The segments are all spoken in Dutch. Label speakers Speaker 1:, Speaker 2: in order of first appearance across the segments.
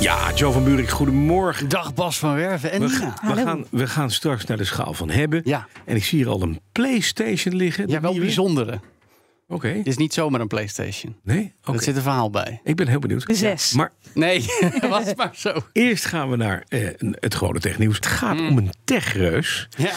Speaker 1: Ja, Joe van Buurik, goedemorgen.
Speaker 2: Dag Bas van Werven en
Speaker 1: We,
Speaker 2: Nina.
Speaker 1: we, gaan, we gaan straks naar de schaal van hebben.
Speaker 2: Ja.
Speaker 1: En ik zie hier al een PlayStation liggen.
Speaker 2: Ja,
Speaker 1: de
Speaker 2: wel
Speaker 1: nieuwe.
Speaker 2: bijzondere.
Speaker 1: Oké.
Speaker 2: Het is niet zomaar een PlayStation.
Speaker 1: Nee? Oké.
Speaker 2: Er zit een verhaal bij.
Speaker 1: Ik ben heel benieuwd.
Speaker 3: De zes.
Speaker 1: Ja, Maar
Speaker 2: Nee, was het maar zo.
Speaker 1: eerst gaan we naar eh, het gewone technieuws. Het gaat om een techreus
Speaker 2: Mm. Ja.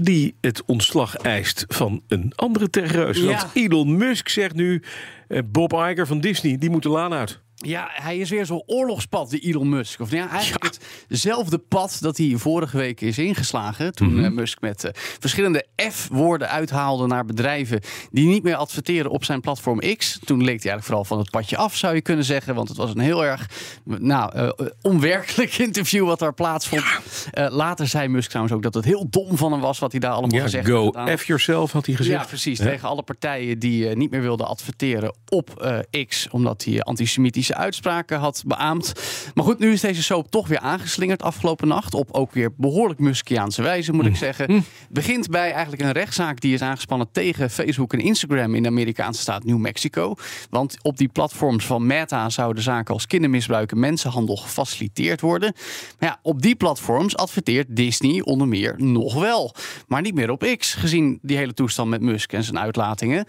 Speaker 1: die het ontslag eist van een andere techreus.
Speaker 2: Ja.
Speaker 1: Want Elon Musk zegt nu, eh, Bob Iger van Disney, die moet de laan uit.
Speaker 2: ja, hij is weer zo'n oorlogspad, die Elon Musk. Of nou ja, eigenlijk hetzelfde pad dat hij vorige week is ingeslagen. Toen
Speaker 1: Mhm.
Speaker 2: eh, Musk met eh, verschillende F-woorden uithaalde naar bedrijven die niet meer adverteren op zijn platform X. Toen leek hij eigenlijk vooral van het padje af, zou je kunnen zeggen. Want het was een heel erg nou, eh, onwerkelijk interview wat daar plaatsvond. Eh, later zei Musk trouwens ook dat het heel dom van hem was wat hij daar allemaal
Speaker 1: Ja,
Speaker 2: gezegd
Speaker 1: go
Speaker 2: en gedaan had.
Speaker 1: F yourself, had hij gezegd.
Speaker 2: Ja, precies. Tegen alle partijen die eh, niet meer wilden adverteren op eh, X. Omdat hij eh, antisemitische uitspraken had beaamd. Maar goed, nu is deze soap toch weer aangeslingerd afgelopen nacht. Op ook weer behoorlijk Muskiaanse wijze, moet ik zeggen. Het begint bij eigenlijk een rechtszaak die is aangespannen tegen Facebook en Instagram in de Amerikaanse staat New Mexico. Want op die platforms van Meta zouden zaken als kindermisbruik en mensenhandel gefaciliteerd worden. Maar ja, op die platforms adverteert Disney onder meer nog wel. Maar niet meer op X, gezien die hele toestand met Musk en zijn uitlatingen.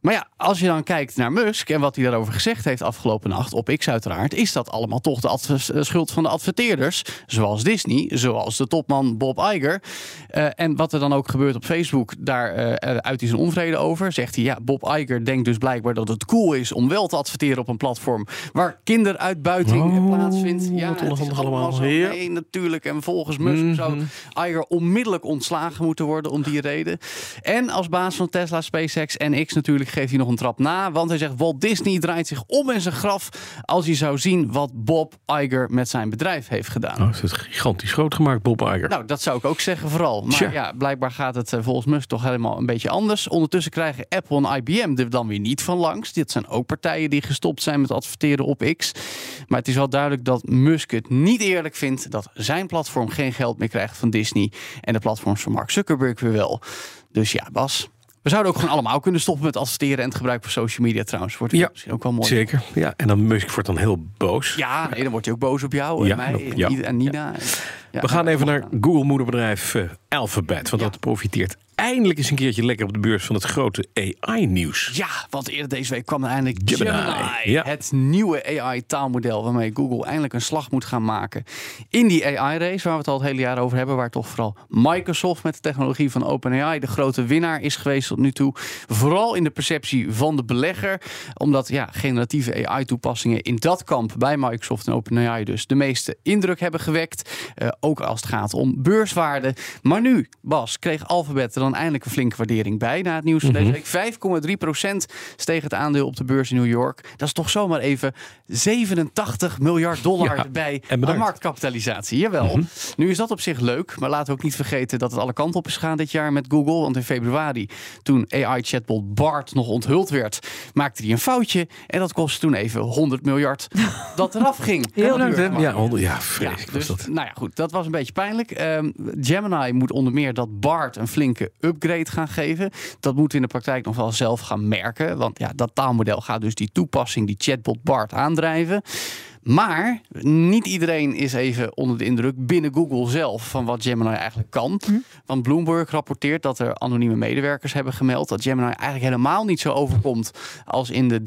Speaker 2: Maar ja, als je dan kijkt naar Musk en wat hij daarover gezegd heeft afgelopen nacht, op X uiteraard, is dat allemaal toch de adver- eh, schuld van de adverteerders. Zoals Disney, zoals de topman Bob Iger. Eh, en wat er dan ook gebeurt op Facebook, daar eh, eh, uit hij zijn onvrede over. Zegt hij, ja, Bob Iger denkt dus blijkbaar dat het cool is om wel te adverteren op een platform waar kinderuitbuiting eh,
Speaker 1: Oh,
Speaker 2: plaatsvindt. Ja,
Speaker 1: wat
Speaker 2: het is
Speaker 1: onhandig allemaal.
Speaker 2: zo.
Speaker 1: Ja. Mhm.
Speaker 2: Nee, natuurlijk. En volgens Musk zou Iger onmiddellijk ontslagen moeten worden om die reden. En als baas van Tesla, SpaceX en X natuurlijk geeft hij nog een trap na. Want hij zegt Walt Disney draait zich om in zijn graf als hij zou zien wat Bob Iger met zijn bedrijf heeft gedaan.
Speaker 1: Oh, is het gigantisch groot gemaakt, Bob Iger.
Speaker 2: Nou, dat zou ik ook zeggen vooral. Maar
Speaker 1: Tja.
Speaker 2: ja, blijkbaar gaat het eh, volgens Musk toch helemaal een beetje anders. Ondertussen krijgen Apple en IBM er dan weer niet van langs. Dit zijn ook partijen die gestopt zijn met adverteren op X. Maar het is wel duidelijk dat Musk het niet eerlijk vindt... dat zijn platform geen geld meer krijgt van Disney... en de platforms van Mark Zuckerberg weer wel. Dus ja, Bas... We zouden ook gewoon allemaal kunnen stoppen met adverteren en het gebruik van social media trouwens. Wordt
Speaker 1: Ja,
Speaker 2: misschien ook wel mooi.
Speaker 1: Zeker. Ja, en dan Musk wordt dan heel boos.
Speaker 2: Ja, nee, dan wordt hij ook boos op jou en
Speaker 1: Ja,
Speaker 2: mij en,
Speaker 1: ja.
Speaker 2: Ida- en Nina. En- ja,
Speaker 1: We gaan
Speaker 2: dat
Speaker 1: even
Speaker 2: mag
Speaker 1: naar
Speaker 2: dan.
Speaker 1: Google moederbedrijf eh, Alphabet, want
Speaker 2: Ja.
Speaker 1: dat profiteert eindelijk eens een keertje lekker op de beurs van het grote AI-nieuws.
Speaker 2: Ja, want eerder deze week kwam er eindelijk
Speaker 1: Gemini,
Speaker 2: Gemini.
Speaker 1: ja.
Speaker 2: Het nieuwe AI-taalmodel waarmee Google eindelijk een slag moet gaan maken. In die AI-race waar we het al het hele jaar over hebben. Waar toch vooral Microsoft met de technologie van OpenAI de grote winnaar is geweest tot nu toe. Vooral in de perceptie van de belegger. Omdat ja, generatieve AI-toepassingen in dat kamp bij Microsoft en OpenAI dus de meeste indruk hebben gewekt. Eh, ook als het gaat om beurswaarde. Maar nu, Bas, kreeg Alphabet er dan eindelijk een flinke waardering bij na het nieuws van deze week. 5,3 steeg het aandeel op de beurs in New York. Dat is toch zomaar even 87 miljard dollar
Speaker 1: Ja,
Speaker 2: erbij
Speaker 1: en bedankt. Mhm.
Speaker 2: aan marktkapitalisatie. Jawel. Nu is dat op zich leuk, maar laten we ook niet vergeten dat het alle kanten op is gegaan dit jaar met Google. Want in februari, toen AI-chatbot Bart nog onthuld werd, maakte hij een foutje. En dat kostte toen even 100 miljard dat eraf ging.
Speaker 3: Heel
Speaker 2: Aan de
Speaker 3: leuk,
Speaker 2: beurs.
Speaker 1: Ja, honderd- ja vreselijk
Speaker 2: Ja,
Speaker 1: was
Speaker 2: dus,
Speaker 1: dat.
Speaker 2: Nou ja, goed, dat was een beetje pijnlijk. Ehm, Gemini moet onder meer dat Bart een flinke upgrade gaan geven. Dat moet in de praktijk nog wel zelf gaan merken. Want ja, dat taalmodel gaat dus die toepassing, die chatbot Bart, aandrijven. Maar niet iedereen is even onder de indruk binnen Google zelf van wat Gemini eigenlijk kan. Want Bloomberg rapporteert dat er anonieme medewerkers hebben gemeld dat Gemini eigenlijk helemaal niet zo overkomt als in de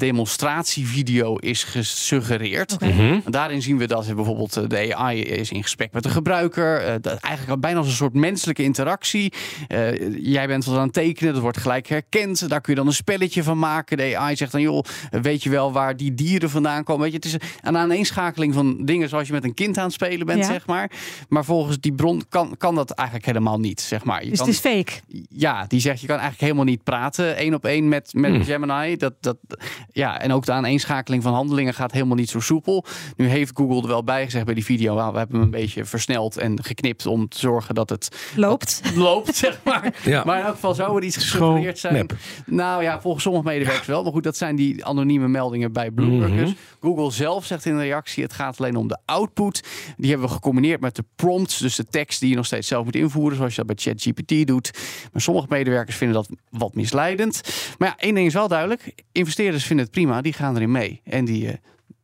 Speaker 2: demonstratievideo is gesuggereerd.
Speaker 3: Mhm.
Speaker 2: Want Daarin zien we dat er bijvoorbeeld eh, de AI is in gesprek met de gebruiker. eh, dat eigenlijk al bijna als een soort menselijke interactie. Eh, jij bent wat aan het tekenen, dat wordt gelijk herkend. Daar kun je dan een spelletje van maken. De AI zegt dan, joh, weet je wel waar die dieren vandaan komen? Weet je, het is een aaneenschakeling van dingen zoals je met een kind aan het spelen bent,
Speaker 3: Ja.
Speaker 2: zeg maar. Maar volgens die bron kan, kan dat eigenlijk helemaal niet, zeg maar. Je
Speaker 3: Dus
Speaker 2: kan,
Speaker 3: het is fake.
Speaker 2: Ja, die zegt je kan eigenlijk helemaal niet praten één op één met, met Gemini. Dat, dat, ja, en ook de aaneenschakeling van handelingen gaat helemaal niet zo soepel. Nu heeft Google er wel bij gezegd bij die video, "Wauw, we hebben hem een beetje versneld en geknipt om te zorgen dat het
Speaker 3: Loopt.
Speaker 2: loopt, zeg maar.
Speaker 1: Ja.
Speaker 2: Maar in elk geval zou er iets
Speaker 1: Schoon
Speaker 2: gesuggereerd zijn.
Speaker 1: nep.
Speaker 2: Nou ja, volgens sommige medewerkers wel. Maar goed, dat zijn die anonieme meldingen bij Bloomberg.
Speaker 1: Mhm.
Speaker 2: dus. Google zelf zegt in een reactie, het gaat alleen om de output. Die hebben we gecombineerd met de prompts. Dus de tekst die je nog steeds zelf moet invoeren. Zoals je dat bij ChatGPT doet. Maar sommige medewerkers vinden dat wat misleidend. Maar ja, één ding is wel duidelijk. Investeerders vinden het prima. Die gaan erin mee. En die... eh,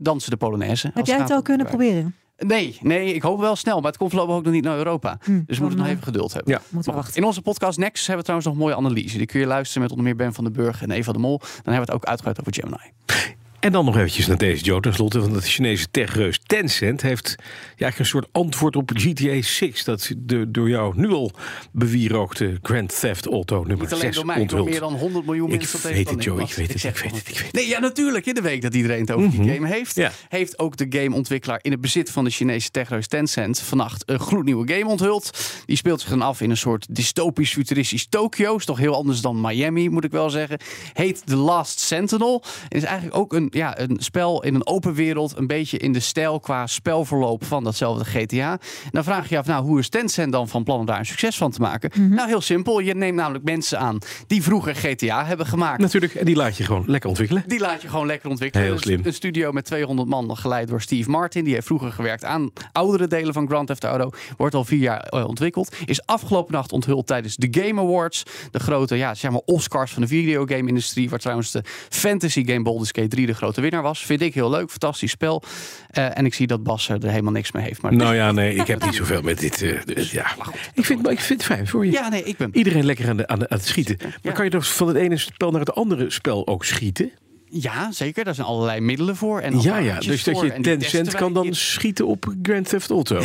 Speaker 2: Dansen de Polonaise.
Speaker 3: Heb
Speaker 2: als
Speaker 3: jij
Speaker 2: gaat
Speaker 3: het al
Speaker 2: om
Speaker 3: kunnen
Speaker 2: gebruik.
Speaker 3: proberen?
Speaker 2: Nee, nee, ik hoop wel snel. Maar het komt voorlopig ook nog niet naar Europa.
Speaker 3: Hm,
Speaker 2: Dus we moeten
Speaker 3: dan,
Speaker 2: nog
Speaker 3: eh,
Speaker 2: even geduld hebben.
Speaker 1: Ja.
Speaker 3: Moeten we
Speaker 2: Maar
Speaker 3: wachten.
Speaker 2: In onze podcast Nexus hebben we trouwens nog een mooie analyse. Die kun je luisteren met onder meer Ben van den Burg en Eva de Mol. Dan hebben we het ook uitgebreid over Gemini.
Speaker 1: En dan nog eventjes naar deze, Joe, ten slotte. Want het Chinese techreus Tencent heeft ja, eigenlijk een soort antwoord op GTA 6. Dat de door jou nu al bewierookte Grand Theft Auto nummer
Speaker 2: Niet alleen
Speaker 1: 6
Speaker 2: door mij, door
Speaker 1: onthult.
Speaker 2: meer dan 100 miljoen
Speaker 1: Ik
Speaker 2: mensen. op deze
Speaker 1: weet het,
Speaker 2: planeet.
Speaker 1: Joe, ik
Speaker 2: Want
Speaker 1: weet het,
Speaker 2: zeg
Speaker 1: ik weet
Speaker 2: gewoon-
Speaker 1: het, ik weet het. Mhm.
Speaker 2: Nee, ja, natuurlijk. In de week dat iedereen het over die game heeft.
Speaker 1: Ja.
Speaker 2: Heeft ook de game ontwikkelaar in het bezit van de Chinese techreus Tencent vannacht een gloednieuwe game onthuld. Die speelt zich dan af in een soort dystopisch futuristisch Tokio. Is toch heel anders dan Miami, moet ik wel zeggen. Heet The Last Sentinel. En is eigenlijk ook een, ja, een spel in een open wereld. Een beetje in de stijl qua spelverloop van datzelfde GTA. En dan vraag je je af, nou, hoe is Tencent dan van plan om daar een succes van te maken? Nou, heel simpel. Je neemt namelijk mensen aan die vroeger GTA hebben gemaakt.
Speaker 1: Natuurlijk, en die laat je gewoon lekker ontwikkelen.
Speaker 2: Die laat je gewoon lekker ontwikkelen.
Speaker 1: Heel
Speaker 2: Een-
Speaker 1: slim.
Speaker 2: Een studio met 200 man, geleid door Steve Martin. Die heeft vroeger gewerkt aan oudere delen van Grand Theft Auto. Wordt al vier jaar eh, ontwikkeld. Is afgelopen nacht onthuld tijdens de Game Awards. De grote ja, zeg maar Oscars van de videogame-industrie. Waar trouwens de fantasy game Baldur's Gate 3 de grote winnaar was. Vind ik heel leuk. Fantastisch spel. Eh, en ik zie dat Bas er helemaal niks mee heeft. Maar
Speaker 1: Nou ja, nee, ik heb niet zoveel met dit. eh, dus ja. ik, vind, maar ik vind het fijn voor je.
Speaker 2: ja, nee, ik ben...
Speaker 1: Iedereen lekker aan, de, aan, de- aan het schieten. Maar kan je dan van het ene spel naar het andere spel ook schieten?
Speaker 2: Ja, zeker. Daar zijn allerlei middelen voor. En
Speaker 1: Ja, ja.
Speaker 2: apparaatjes
Speaker 1: Dus dat
Speaker 2: voor.
Speaker 1: je
Speaker 2: En die
Speaker 1: Tencent
Speaker 2: testen
Speaker 1: kan
Speaker 2: wij
Speaker 1: dan schieten op Grand Theft Auto.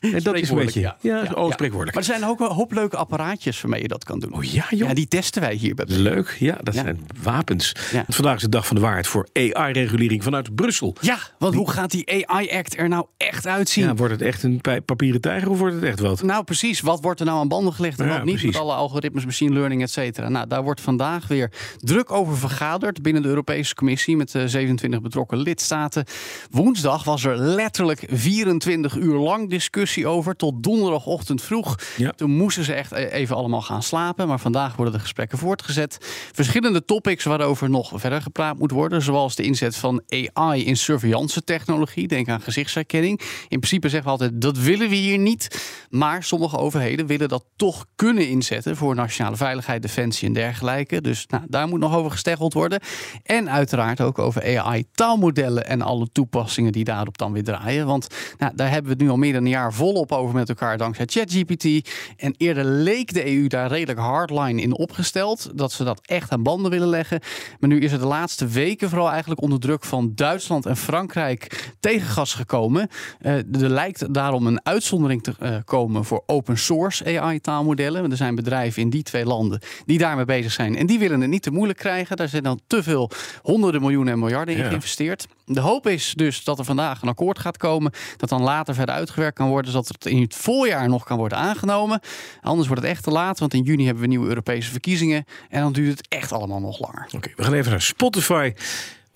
Speaker 1: en dat is een
Speaker 2: Spreekwoordelijk,
Speaker 1: beetje... Ja,
Speaker 2: ja.
Speaker 1: oh, spreekwoordelijk.
Speaker 2: Maar er zijn ook wel een hoop leuke apparaatjes waarmee je dat kan doen.
Speaker 1: Oh ja, joh.
Speaker 2: Ja, die testen wij hier bij
Speaker 1: Leuk, ja, dat
Speaker 2: Ja.
Speaker 1: zijn wapens.
Speaker 2: Ja.
Speaker 1: Want Vandaag is de dag van de waarheid voor AI-regulering vanuit Brussel.
Speaker 2: Ja, want hoe gaat die AI-act er nou echt uitzien?
Speaker 1: Ja, wordt het echt een pa- papieren tijger of wordt het echt wat?
Speaker 2: Nou, precies. Wat wordt er nou aan banden gelegd en
Speaker 1: Ja,
Speaker 2: wat niet?
Speaker 1: precies.
Speaker 2: Met alle algoritmes, machine learning, et cetera. Nou, daar wordt vandaag weer druk over vergaderd binnen de Europese Commissie met eh, 27 betrokken lidstaten. Woensdag was er letterlijk 24 uur lang discussie over, tot donderdagochtend vroeg.
Speaker 1: Ja.
Speaker 2: Toen moesten ze echt eh, even allemaal gaan slapen. Maar vandaag worden de gesprekken voortgezet. Verschillende topics waarover nog verder gepraat moet worden. Zoals de inzet van AI in surveillance technologie. Denk aan gezichtsherkenning. In principe zeggen we altijd dat willen we hier niet. Maar sommige overheden willen dat toch kunnen inzetten. Voor nationale veiligheid, defensie en dergelijke. Dus nou, daar moet nog over gesteggeld worden. En uiteraard ook over AI taalmodellen. En alle toepassingen die daarop dan weer draaien. Want nou, daar hebben we het nu al meer dan een jaar volop over met elkaar dankzij ChatGPT. En eerder leek de EU daar redelijk hardline in opgesteld. Dat ze dat echt aan banden willen leggen. Maar nu is er de laatste weken vooral eigenlijk onder druk van Duitsland en Frankrijk tegengas gekomen. Eh, er lijkt daarom een uitzondering te eh, komen voor open source AI taalmodellen. Want er zijn bedrijven in die twee landen die daarmee bezig zijn. En die willen het niet te moeilijk krijgen. Daar zijn dan te veel honderden miljoenen en miljarden in
Speaker 1: Ja.
Speaker 2: geïnvesteerd. De hoop is dus dat er vandaag een akkoord gaat komen. Dat dan later verder uitgewerkt kan worden. Zodat het in het voorjaar nog kan worden aangenomen. Anders wordt het echt te laat. Want in juni hebben we nieuwe Europese verkiezingen. En dan duurt het echt allemaal nog langer.
Speaker 1: Oké, we gaan even naar Spotify.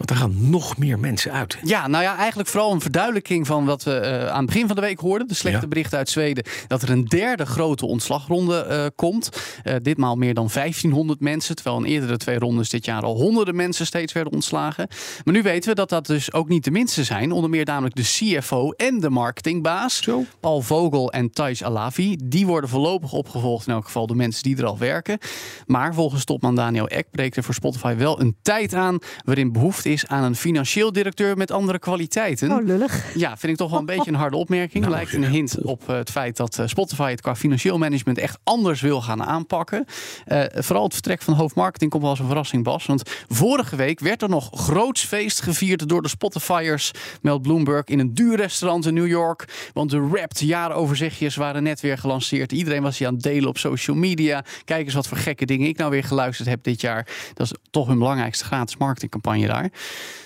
Speaker 1: Want daar gaan nog meer mensen uit.
Speaker 2: Ja, nou ja, eigenlijk vooral een verduidelijking van wat we eh, aan het begin van de week hoorden. De slechte
Speaker 1: Ja.
Speaker 2: berichten uit Zweden. Dat er een derde grote ontslagronde eh, komt. Eh, ditmaal meer dan 1500 mensen. Terwijl in eerdere twee rondes dit jaar al honderden mensen steeds werden ontslagen. Maar nu weten we dat dat dus ook niet de minste zijn. Onder meer namelijk de CFO en de marketingbaas.
Speaker 1: Zo.
Speaker 2: Paul Vogel en Thijs Alavi. Die worden voorlopig opgevolgd in elk geval door mensen die er al werken. Maar volgens topman Daniel Ek breekt er voor Spotify wel een tijd aan... waarin behoefte is aan een financieel directeur met andere kwaliteiten.
Speaker 3: Oh, lullig.
Speaker 2: Ja, vind ik toch wel een beetje een harde opmerking.
Speaker 1: Nou,
Speaker 2: Lijkt
Speaker 1: ja.
Speaker 2: een hint op eh, het feit dat eh, Spotify het qua financieel management echt anders wil gaan aanpakken. Eh, vooral het vertrek van hoofdmarketing komt wel als een verrassing, Bas. Want vorige week werd er nog groots feest gevierd door de Spotifyers, meldt Bloomberg, in een duur restaurant in New York. Want de Wrapped jaaroverzichtjes waren net weer gelanceerd. Iedereen was die aan het delen op social media. Kijk eens wat voor gekke dingen ik nou weer geluisterd heb dit jaar. Dat is toch hun belangrijkste gratis marketingcampagne daar.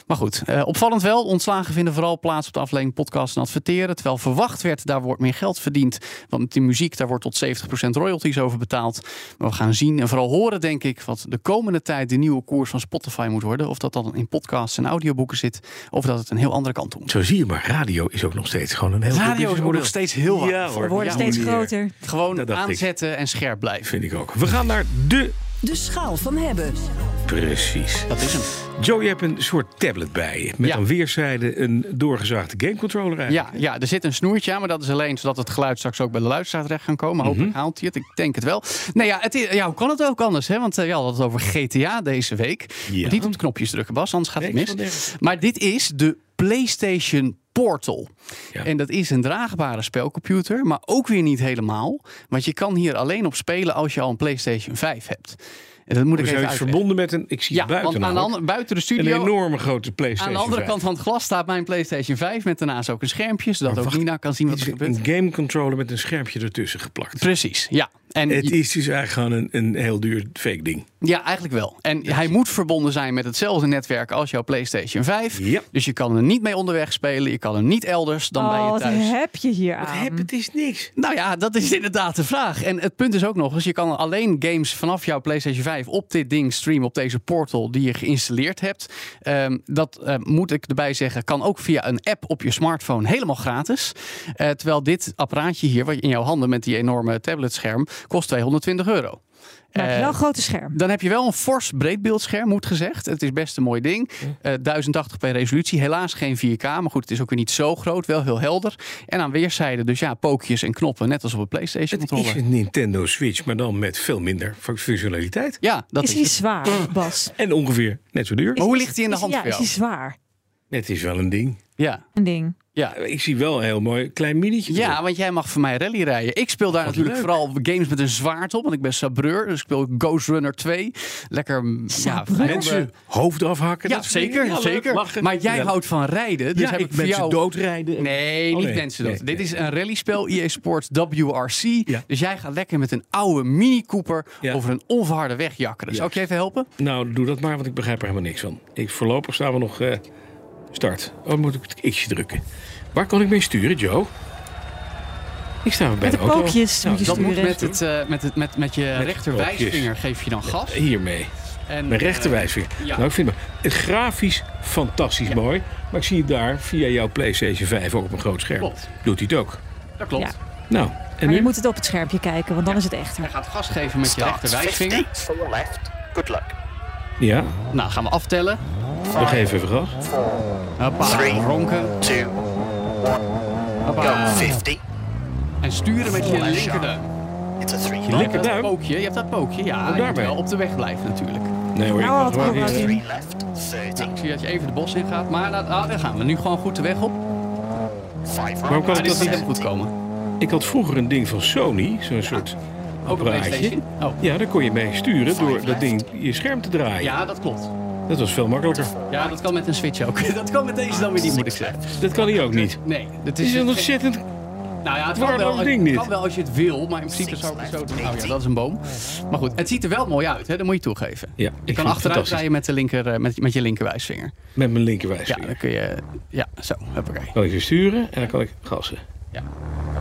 Speaker 2: Maar goed, eh, opvallend wel. Ontslagen vinden vooral plaats op de afdeling podcast en adverteren. Terwijl verwacht werd, daar wordt meer geld verdiend. Want met die muziek, daar wordt tot 70% royalties over betaald. Maar we gaan zien en vooral horen, denk ik, wat de komende tijd de nieuwe koers van Spotify moet worden. Of dat dan in podcasts en audioboeken zit. Of dat het een heel andere kant op moet.
Speaker 1: Zo zie je maar, radio is ook nog steeds gewoon een heel goed
Speaker 2: Radio is ook
Speaker 1: businessmodel.
Speaker 2: nog steeds heel hard.
Speaker 1: Ja, hoor.
Speaker 2: voor.
Speaker 1: We
Speaker 3: Worden
Speaker 2: Ja,
Speaker 3: steeds
Speaker 1: manier.
Speaker 3: groter.
Speaker 2: Gewoon
Speaker 1: Dat dacht ik.
Speaker 2: aanzetten en scherp blijven.
Speaker 1: Vind ik ook. We gaan naar de...
Speaker 3: De schaal van hebben.
Speaker 1: Precies.
Speaker 2: Dat is hem.
Speaker 1: Joe, je hebt een soort tablet bij je. Met
Speaker 2: Ja.
Speaker 1: aan weerszijden een doorgezaagde gamecontroller eigenlijk.
Speaker 2: Ja, ja, er zit een snoertje aan, maar dat is alleen zodat het geluid straks ook bij de luisteraar terecht kan komen. Hopelijk
Speaker 1: Mhm.
Speaker 2: haalt hij het, ik denk het wel. Nee, ja, het is, ja, hoe kan het ook anders? Hè? Want eh, ja, we hadden het over GTA deze week.
Speaker 1: Ja.
Speaker 2: Niet op de knopjes drukken, Bas, anders gaat het
Speaker 1: Nee, ik
Speaker 2: mis.
Speaker 1: zal nergens.
Speaker 2: Maar dit is de PlayStation Portal.
Speaker 1: Ja.
Speaker 2: En dat is een draagbare spelcomputer, maar ook weer niet helemaal. Want je kan hier alleen op spelen als je al een PlayStation 5 hebt. En dat moet
Speaker 1: We
Speaker 2: ik
Speaker 1: zijn
Speaker 2: even uitleggen.
Speaker 1: verbonden met een... Ik zie
Speaker 2: Ja,
Speaker 1: buiten
Speaker 2: want aan de
Speaker 1: namelijk
Speaker 2: andere- buiten de
Speaker 1: een
Speaker 2: studio
Speaker 1: enorme grote
Speaker 2: aan
Speaker 1: PlayStation
Speaker 2: de andere
Speaker 1: 5.
Speaker 2: kant van het glas staat mijn PlayStation 5 met daarnaast ook een schermpje, zodat
Speaker 1: Maar
Speaker 2: ook
Speaker 1: wacht,
Speaker 2: Nina kan zien wat er
Speaker 1: Het
Speaker 2: gebeurt.
Speaker 1: is een gamecontroller met een schermpje ertussen geplakt.
Speaker 2: Precies, ja. En
Speaker 1: Het is dus eigenlijk gewoon een, een heel duur fake ding.
Speaker 2: ja, eigenlijk wel. En hij moet verbonden zijn met hetzelfde netwerk als jouw PlayStation 5.
Speaker 1: Ja.
Speaker 2: Dus je kan hem niet mee onderweg spelen. Je kan hem niet elders dan bij
Speaker 3: oh,
Speaker 2: je
Speaker 3: wat
Speaker 2: thuis.
Speaker 3: heb je hier aan?
Speaker 1: het is niks.
Speaker 2: Nou ja, dat is inderdaad de vraag. En het punt is ook nog eens, je kan alleen games vanaf jouw PlayStation 5 op dit ding streamen, op deze portal die je geïnstalleerd hebt. Ehm, dat eh, moet ik erbij zeggen, kan ook via een app op je smartphone helemaal gratis. Eh, terwijl dit apparaatje hier, wat je in jouw handen met die enorme tabletscherm, kost 220 euro.
Speaker 3: Maar het is wel
Speaker 2: Eh,
Speaker 3: een grote scherm.
Speaker 2: dan heb je wel een fors breedbeeldscherm, moet gezegd. Het is best een mooi ding. Eh 1080p resolutie, helaas geen 4K. Maar goed, het is ook weer niet zo groot, wel heel helder. En aan weerszijden dus ja, pookjes en knoppen, net als op een PlayStation
Speaker 1: Het is
Speaker 2: controller.
Speaker 1: een Nintendo Switch, maar dan met veel minder fu- functionaliteit.
Speaker 2: Ja, dat
Speaker 3: is
Speaker 2: is
Speaker 3: hij
Speaker 2: het.
Speaker 3: zwaar, Bas?
Speaker 1: En ongeveer net zo duur.
Speaker 2: Maar hoe ligt hij in de
Speaker 3: Is-
Speaker 2: hand
Speaker 3: Ja,
Speaker 2: voor
Speaker 3: is
Speaker 2: jou?
Speaker 3: hij zwaar?
Speaker 1: Het is wel een ding.
Speaker 2: Ja.
Speaker 3: Een ding.
Speaker 2: Ja.
Speaker 1: Ik zie wel een heel mooi klein minietje.
Speaker 2: Ja, want jij mag voor mij rally rijden. Ik speel daar natuurlijk
Speaker 1: leuk.
Speaker 2: vooral games met een zwaard op, want ik ben sabreur. Dus ik speel Ghost Runner 2. Lekker, mm, ja,
Speaker 3: Sabreur?
Speaker 1: erop.
Speaker 2: vrij-
Speaker 1: Mensen hoofd afhakken.
Speaker 2: Ja,
Speaker 1: dat soort
Speaker 2: zeker,
Speaker 1: dingen. Ja, leuk,
Speaker 2: zeker.
Speaker 1: lachen.
Speaker 2: Maar jij
Speaker 1: Ja.
Speaker 2: houdt van rijden, dus
Speaker 1: Ja,
Speaker 2: heb
Speaker 1: ik
Speaker 2: ik voor
Speaker 1: mensen
Speaker 2: jou...
Speaker 1: doodrijden.
Speaker 2: Nee,
Speaker 1: Oh,
Speaker 2: niet
Speaker 1: nee.
Speaker 2: mensen dood.
Speaker 1: Nee,
Speaker 2: Dit
Speaker 1: nee.
Speaker 2: is een rallyspel, EA Sports WRC.
Speaker 1: Ja.
Speaker 2: Dus jij gaat lekker met een oude Mini Cooper
Speaker 1: Ja.
Speaker 2: over een onverharde weg jakkeren. Zou ik je even helpen?
Speaker 1: Nou, doe dat maar, want ik begrijp er helemaal niks van. Ik, voorlopig staan we nog eh, start. Oh, moet ik het x'je drukken. Waar kan ik mee sturen, Joe? Ik sta bij
Speaker 3: Met de
Speaker 1: auto.
Speaker 3: pookjes
Speaker 1: Nou,
Speaker 3: moet je
Speaker 2: Dat moet
Speaker 3: sturen.
Speaker 2: met, het, eh, met, het, met, met je
Speaker 1: Met
Speaker 2: rechterwijsvinger geef je dan gas.
Speaker 1: Hiermee.
Speaker 2: En,
Speaker 1: Mijn
Speaker 2: eh,
Speaker 1: rechterwijsvinger.
Speaker 2: ja.
Speaker 1: Nou, ik vind het grafisch fantastisch mooi. Maar ik zie het daar via jouw PlayStation 5 ook op een groot scherm.
Speaker 2: Klopt.
Speaker 1: Doet hij het ook.
Speaker 2: eh, Dat klopt.
Speaker 3: Ja.
Speaker 1: Nou, en
Speaker 3: Maar
Speaker 1: nu?
Speaker 3: je moet het op het schermpje kijken, want dan is het
Speaker 2: Hij
Speaker 3: echter.
Speaker 2: gaat gas geven met je
Speaker 4: Start
Speaker 2: rechterwijsvinger.
Speaker 4: 15 from the left. Good luck.
Speaker 1: Ja,
Speaker 2: Nou, gaan we aftellen.
Speaker 1: nog even even gas.
Speaker 2: Hoppa,
Speaker 4: Three.
Speaker 2: ronken.
Speaker 4: Two,
Speaker 2: Hoppa.
Speaker 4: go. 50.
Speaker 2: En sturen met je linkerduim.
Speaker 4: It's a three.
Speaker 1: Je
Speaker 2: Je hebt dat
Speaker 1: linkerduim.
Speaker 2: pookje, je hebt dat pookje. Ja, je moet
Speaker 1: daarmee.
Speaker 2: wel op de weg blijven natuurlijk. Nou,
Speaker 1: Nee hoor, ik
Speaker 3: Nou,
Speaker 1: mag
Speaker 3: wat
Speaker 1: wel
Speaker 3: goed.
Speaker 1: hier-
Speaker 4: Three left. 30.
Speaker 2: Ik zie dat je even de bos in gaat, maar nou, ah, daar gaan we nu gewoon goed de weg op.
Speaker 4: Five
Speaker 1: Waarom
Speaker 4: right.
Speaker 1: kan
Speaker 2: Maar
Speaker 1: ik dat
Speaker 2: dit is
Speaker 1: niet
Speaker 2: niet helemaal goed komen.
Speaker 1: Ik had vroeger een ding van Sony, zo'n soort
Speaker 2: Ook een
Speaker 1: apparaatje.
Speaker 2: PlayStation. Oh.
Speaker 1: Ja, daar kon je mee sturen door dat ding je scherm te draaien.
Speaker 2: Ja, dat klopt.
Speaker 1: Dat was veel makkelijker.
Speaker 2: Ja, dat kan met een Switch ook. Dat kan met deze dan weer niet, moet ik zeggen.
Speaker 1: Dat kan hij ook niet.
Speaker 2: Nee, dat
Speaker 1: Het
Speaker 2: is...
Speaker 1: is een ontzettend...
Speaker 2: Nou ja, het kan
Speaker 1: waar
Speaker 2: wel,
Speaker 1: dat ding
Speaker 2: het kan
Speaker 1: niet?
Speaker 2: wel als je het wil, maar in principe zou ik het zo doen. Nou ja, dat is een boom. Maar goed, het ziet er wel mooi uit, hè? dat moet je toegeven.
Speaker 1: Ja,
Speaker 2: je
Speaker 1: ik
Speaker 2: kan
Speaker 1: vind het
Speaker 2: achteruit
Speaker 1: fantastisch.
Speaker 2: rijden met, de linker, eh, met, met je linkerwijsvinger.
Speaker 1: Met mijn
Speaker 2: Ja,
Speaker 1: linkerwijsvinger.
Speaker 2: dan kun je... Ja, zo, hoppakee.
Speaker 1: Kan ik weer sturen en dan kan ik gassen.
Speaker 2: Ja.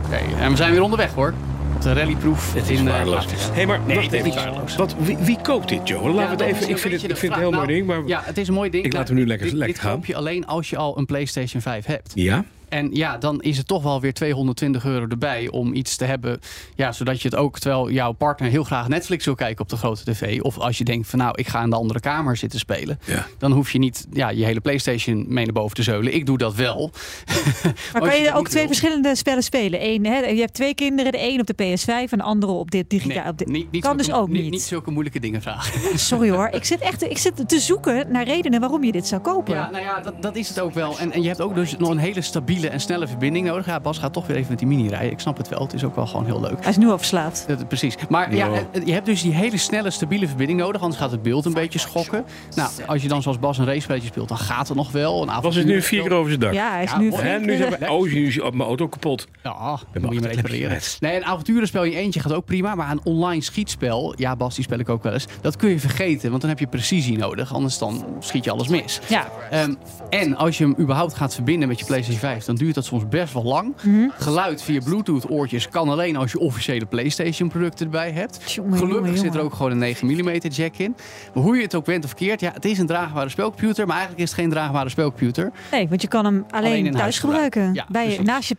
Speaker 2: Oké, en we zijn weer onderweg hoor. Op de rallyproef
Speaker 1: Het is
Speaker 2: in eh,
Speaker 1: waardeloos.
Speaker 2: Afrika.
Speaker 1: hey, maar
Speaker 2: Nee,
Speaker 1: wacht
Speaker 2: het is niet
Speaker 1: even.
Speaker 2: waardeloos.
Speaker 1: Wat, wie, wie koopt dit, Joe? Laten we het
Speaker 2: Ja, dat
Speaker 1: even... Ik
Speaker 2: is een
Speaker 1: vind het,
Speaker 2: beetje
Speaker 1: ik
Speaker 2: de
Speaker 1: vind het
Speaker 2: vraag.
Speaker 1: heel mooi ding,
Speaker 2: Nou,
Speaker 1: maar...
Speaker 2: Ja, het is een mooi ding.
Speaker 1: Ik laat
Speaker 2: Nou,
Speaker 1: hem nu lekker
Speaker 2: dit,
Speaker 1: lek
Speaker 2: dit
Speaker 1: gaan.
Speaker 2: koop je alleen als je al een PlayStation 5 hebt.
Speaker 1: Ja?
Speaker 2: En ja, dan is het toch wel weer 220 euro erbij om iets te hebben. Ja, zodat je het ook, terwijl jouw partner heel graag Netflix wil kijken op de grote tv. Of als je denkt van nou, ik ga in de andere kamer zitten spelen.
Speaker 1: Ja.
Speaker 2: Dan hoef je niet ja, je hele Playstation mee naar boven te zeulen. Ik doe dat wel.
Speaker 3: Maar
Speaker 2: Als
Speaker 3: kan
Speaker 2: Oh, je
Speaker 3: je
Speaker 2: dat
Speaker 3: ook
Speaker 2: niet
Speaker 3: twee
Speaker 2: wil.
Speaker 3: verschillende spellen spelen? Eén, hè, je hebt twee kinderen, de een op de PS5 en de andere op dit digitaal. op dit-
Speaker 2: niet, niet
Speaker 3: kan
Speaker 2: zulke-
Speaker 3: dus ook
Speaker 2: Niet,
Speaker 3: niet.
Speaker 2: zulke moeilijke dingen vragen.
Speaker 3: Sorry hoor, ik zit echt ik zit te zoeken naar redenen waarom je dit zou kopen.
Speaker 2: Ja, nou ja, dat, dat is het ook wel. En, en je hebt ook dus nog een hele stabiele stabiele en snelle verbinding nodig. Ja, Bas gaat toch weer even met die mini rijden. Ik snap het wel. Het is ook wel gewoon heel leuk.
Speaker 3: Hij is nu al verslaafd.
Speaker 2: Dat- precies. Maar ja,
Speaker 1: Ja.
Speaker 2: eh, je hebt dus die hele snelle, stabiele verbinding nodig. Anders gaat het beeld een beetje schokken. Nou, als je dan zoals Bas een racespelletje speelt, dan gaat het nog wel. Een
Speaker 1: Was het nu vier keer over zijn dak?
Speaker 3: Ja, hij is
Speaker 2: Ja,
Speaker 3: nu
Speaker 2: mooi.
Speaker 1: Hè,
Speaker 3: flink,
Speaker 1: nu
Speaker 3: eh,
Speaker 1: zijn we, oh, nu is mijn auto kapot.
Speaker 2: Ja,
Speaker 1: ben
Speaker 2: dan moet je maar
Speaker 1: achter het
Speaker 2: repareren.
Speaker 1: lapje.
Speaker 2: Nee, een avonturenspel in je eentje gaat ook prima. Maar een online schietspel, ja Bas, die spel ik ook wel eens. Dat kun je vergeten, want dan heb je precisie nodig. Anders dan schiet je alles mis.
Speaker 3: Ja.
Speaker 2: Ehm, en als je hem überhaupt gaat verbinden met je PlayStation 5, dan duurt dat soms best wel lang.
Speaker 3: Mhm.
Speaker 2: Geluid via Bluetooth oortjes kan alleen als je officiële PlayStation producten erbij hebt.
Speaker 3: Tjonge,
Speaker 2: Gelukkig
Speaker 3: jonge,
Speaker 2: zit er
Speaker 3: jonge.
Speaker 2: ook gewoon een 9 mm jack in. Maar hoe je het ook went of keert, ja, het is een draagbare spelcomputer, maar eigenlijk is het geen draagbare spelcomputer.
Speaker 3: Nee, want je kan hem alleen,
Speaker 2: Alleen in huis
Speaker 3: thuis gebruiken.
Speaker 2: gebruiken. Ja,
Speaker 3: bij, je-
Speaker 2: precies.
Speaker 3: naast je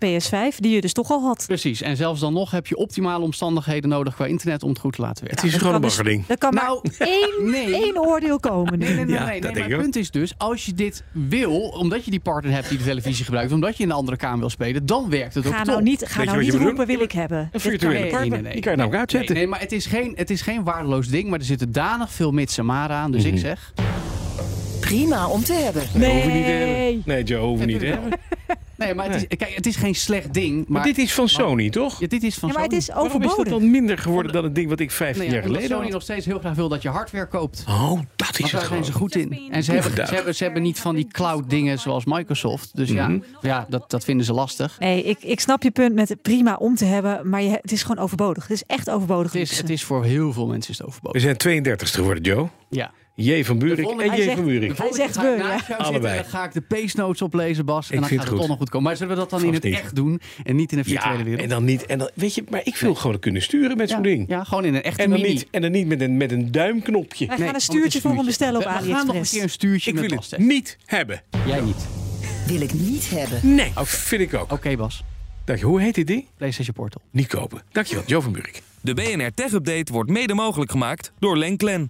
Speaker 3: PS5, die je dus toch al had.
Speaker 2: Precies, en zelfs dan nog heb je optimale omstandigheden nodig qua internet om het goed te laten werken.
Speaker 1: Het is
Speaker 3: Dat
Speaker 1: gewoon een
Speaker 3: kan dus-
Speaker 1: baggerding.
Speaker 3: Er kan
Speaker 2: Nou,
Speaker 3: maar één,
Speaker 2: nee.
Speaker 3: één oordeel komen nu.
Speaker 2: Nee,
Speaker 1: Ja,
Speaker 2: nee,
Speaker 1: dat
Speaker 2: maar
Speaker 1: denk ik
Speaker 2: het punt is dus, als je dit wil, omdat je die partner hebt die de televisie gebruikt, omdat je in een andere kamer wil spelen, dan werkt het ook
Speaker 3: Ga
Speaker 2: top.
Speaker 3: nou niet,
Speaker 1: je
Speaker 3: ga nou
Speaker 1: wat je
Speaker 3: niet
Speaker 1: moet
Speaker 3: roepen,
Speaker 1: doen?
Speaker 3: wil ik hebben.
Speaker 1: Een virtuele
Speaker 2: Nee,
Speaker 1: partner.
Speaker 2: nee, nee.
Speaker 1: Die kan je namelijk
Speaker 2: Nee,
Speaker 1: uitzetten.
Speaker 2: nee, maar het is, geen, het is geen waardeloos ding, maar er zitten danig veel mits en maren aan. Dus
Speaker 1: Mhm.
Speaker 2: ik zeg,
Speaker 5: Prima om te hebben.
Speaker 1: Hoeven we niet te
Speaker 3: Nee.
Speaker 1: hebben. Nee, Joe, hoeven we niet te hebben. Maar,
Speaker 2: nee, maar het is, kijk, het is geen slecht ding. Maar,
Speaker 1: dit is van Sony, toch?
Speaker 2: Ja, dit is van
Speaker 3: Ja, maar het
Speaker 2: Sony.
Speaker 3: is
Speaker 1: Waarom is dat
Speaker 3: overbodig.
Speaker 1: dan minder geworden dan het ding wat ik 15
Speaker 2: Nee, Nou ja,
Speaker 1: jaar
Speaker 2: omdat
Speaker 1: geleden
Speaker 2: Sony
Speaker 1: had?
Speaker 2: nog steeds heel graag wil dat je hardware koopt.
Speaker 1: Oh, dat is
Speaker 2: Want
Speaker 1: het
Speaker 2: daar zijn
Speaker 1: gewoon.
Speaker 2: ze goed in. En ze hebben, ze, hebben, ze hebben niet van die cloud dingen zoals Microsoft. Dus
Speaker 1: Mhm.
Speaker 2: ja, ja dat, dat vinden ze lastig.
Speaker 3: Nee, ik, ik snap je punt met het prima om te hebben, maar je, het is gewoon overbodig. Het is echt overbodig.
Speaker 2: Het is, het is voor heel veel mensen is het
Speaker 1: We
Speaker 2: overbodig.
Speaker 1: zijn 32 geworden, Joe.
Speaker 2: Ja.
Speaker 1: J. van
Speaker 2: De
Speaker 1: Buurik
Speaker 2: volgende-
Speaker 1: en
Speaker 3: hij
Speaker 1: J.
Speaker 3: zegt-
Speaker 1: van Buurik.
Speaker 3: Hij zegt
Speaker 2: Ik ga
Speaker 3: we, ja.
Speaker 2: naast jou zitten
Speaker 1: Allebei.
Speaker 2: en dan ga ik de pace notes oplezen, Bas.
Speaker 1: Ik
Speaker 2: En dan
Speaker 1: vind het
Speaker 2: gaat het
Speaker 1: goed.
Speaker 2: toch nog goed komen. Maar zullen we dat dan in
Speaker 1: Vast
Speaker 2: het
Speaker 1: niet.
Speaker 2: echt doen? En niet in een virtuele
Speaker 1: Ja,
Speaker 2: wereld?
Speaker 1: en dan niet. En dan, weet je, maar ik wil gewoon kunnen sturen met zo'n
Speaker 2: ja,
Speaker 1: ding.
Speaker 2: ja, gewoon in een echte
Speaker 1: En dan
Speaker 2: mini.
Speaker 1: niet, en dan niet met, een, met een duimknopje.
Speaker 2: Nee,
Speaker 3: Wij gaan een
Speaker 2: want het
Speaker 3: stuurtje
Speaker 2: is
Speaker 3: voor hem bestellen op
Speaker 2: We- We gaan nog een
Speaker 3: AliExpress.
Speaker 2: keer een stuurtje
Speaker 1: Ik
Speaker 2: met
Speaker 1: wil
Speaker 2: Bas
Speaker 1: het
Speaker 2: testen.
Speaker 1: niet hebben.
Speaker 2: Jij niet. Oké,
Speaker 5: Wil ik niet hebben.
Speaker 1: Nee, vind ik ook.
Speaker 2: Bas.
Speaker 1: Dank je. Hoe heet dit ding?
Speaker 2: PlayStation Portal.
Speaker 1: Niet kopen. Dankjewel, Jo van Buurik.
Speaker 6: De BNR Tech Update wordt mede mogelijk gemaakt door Lenklen.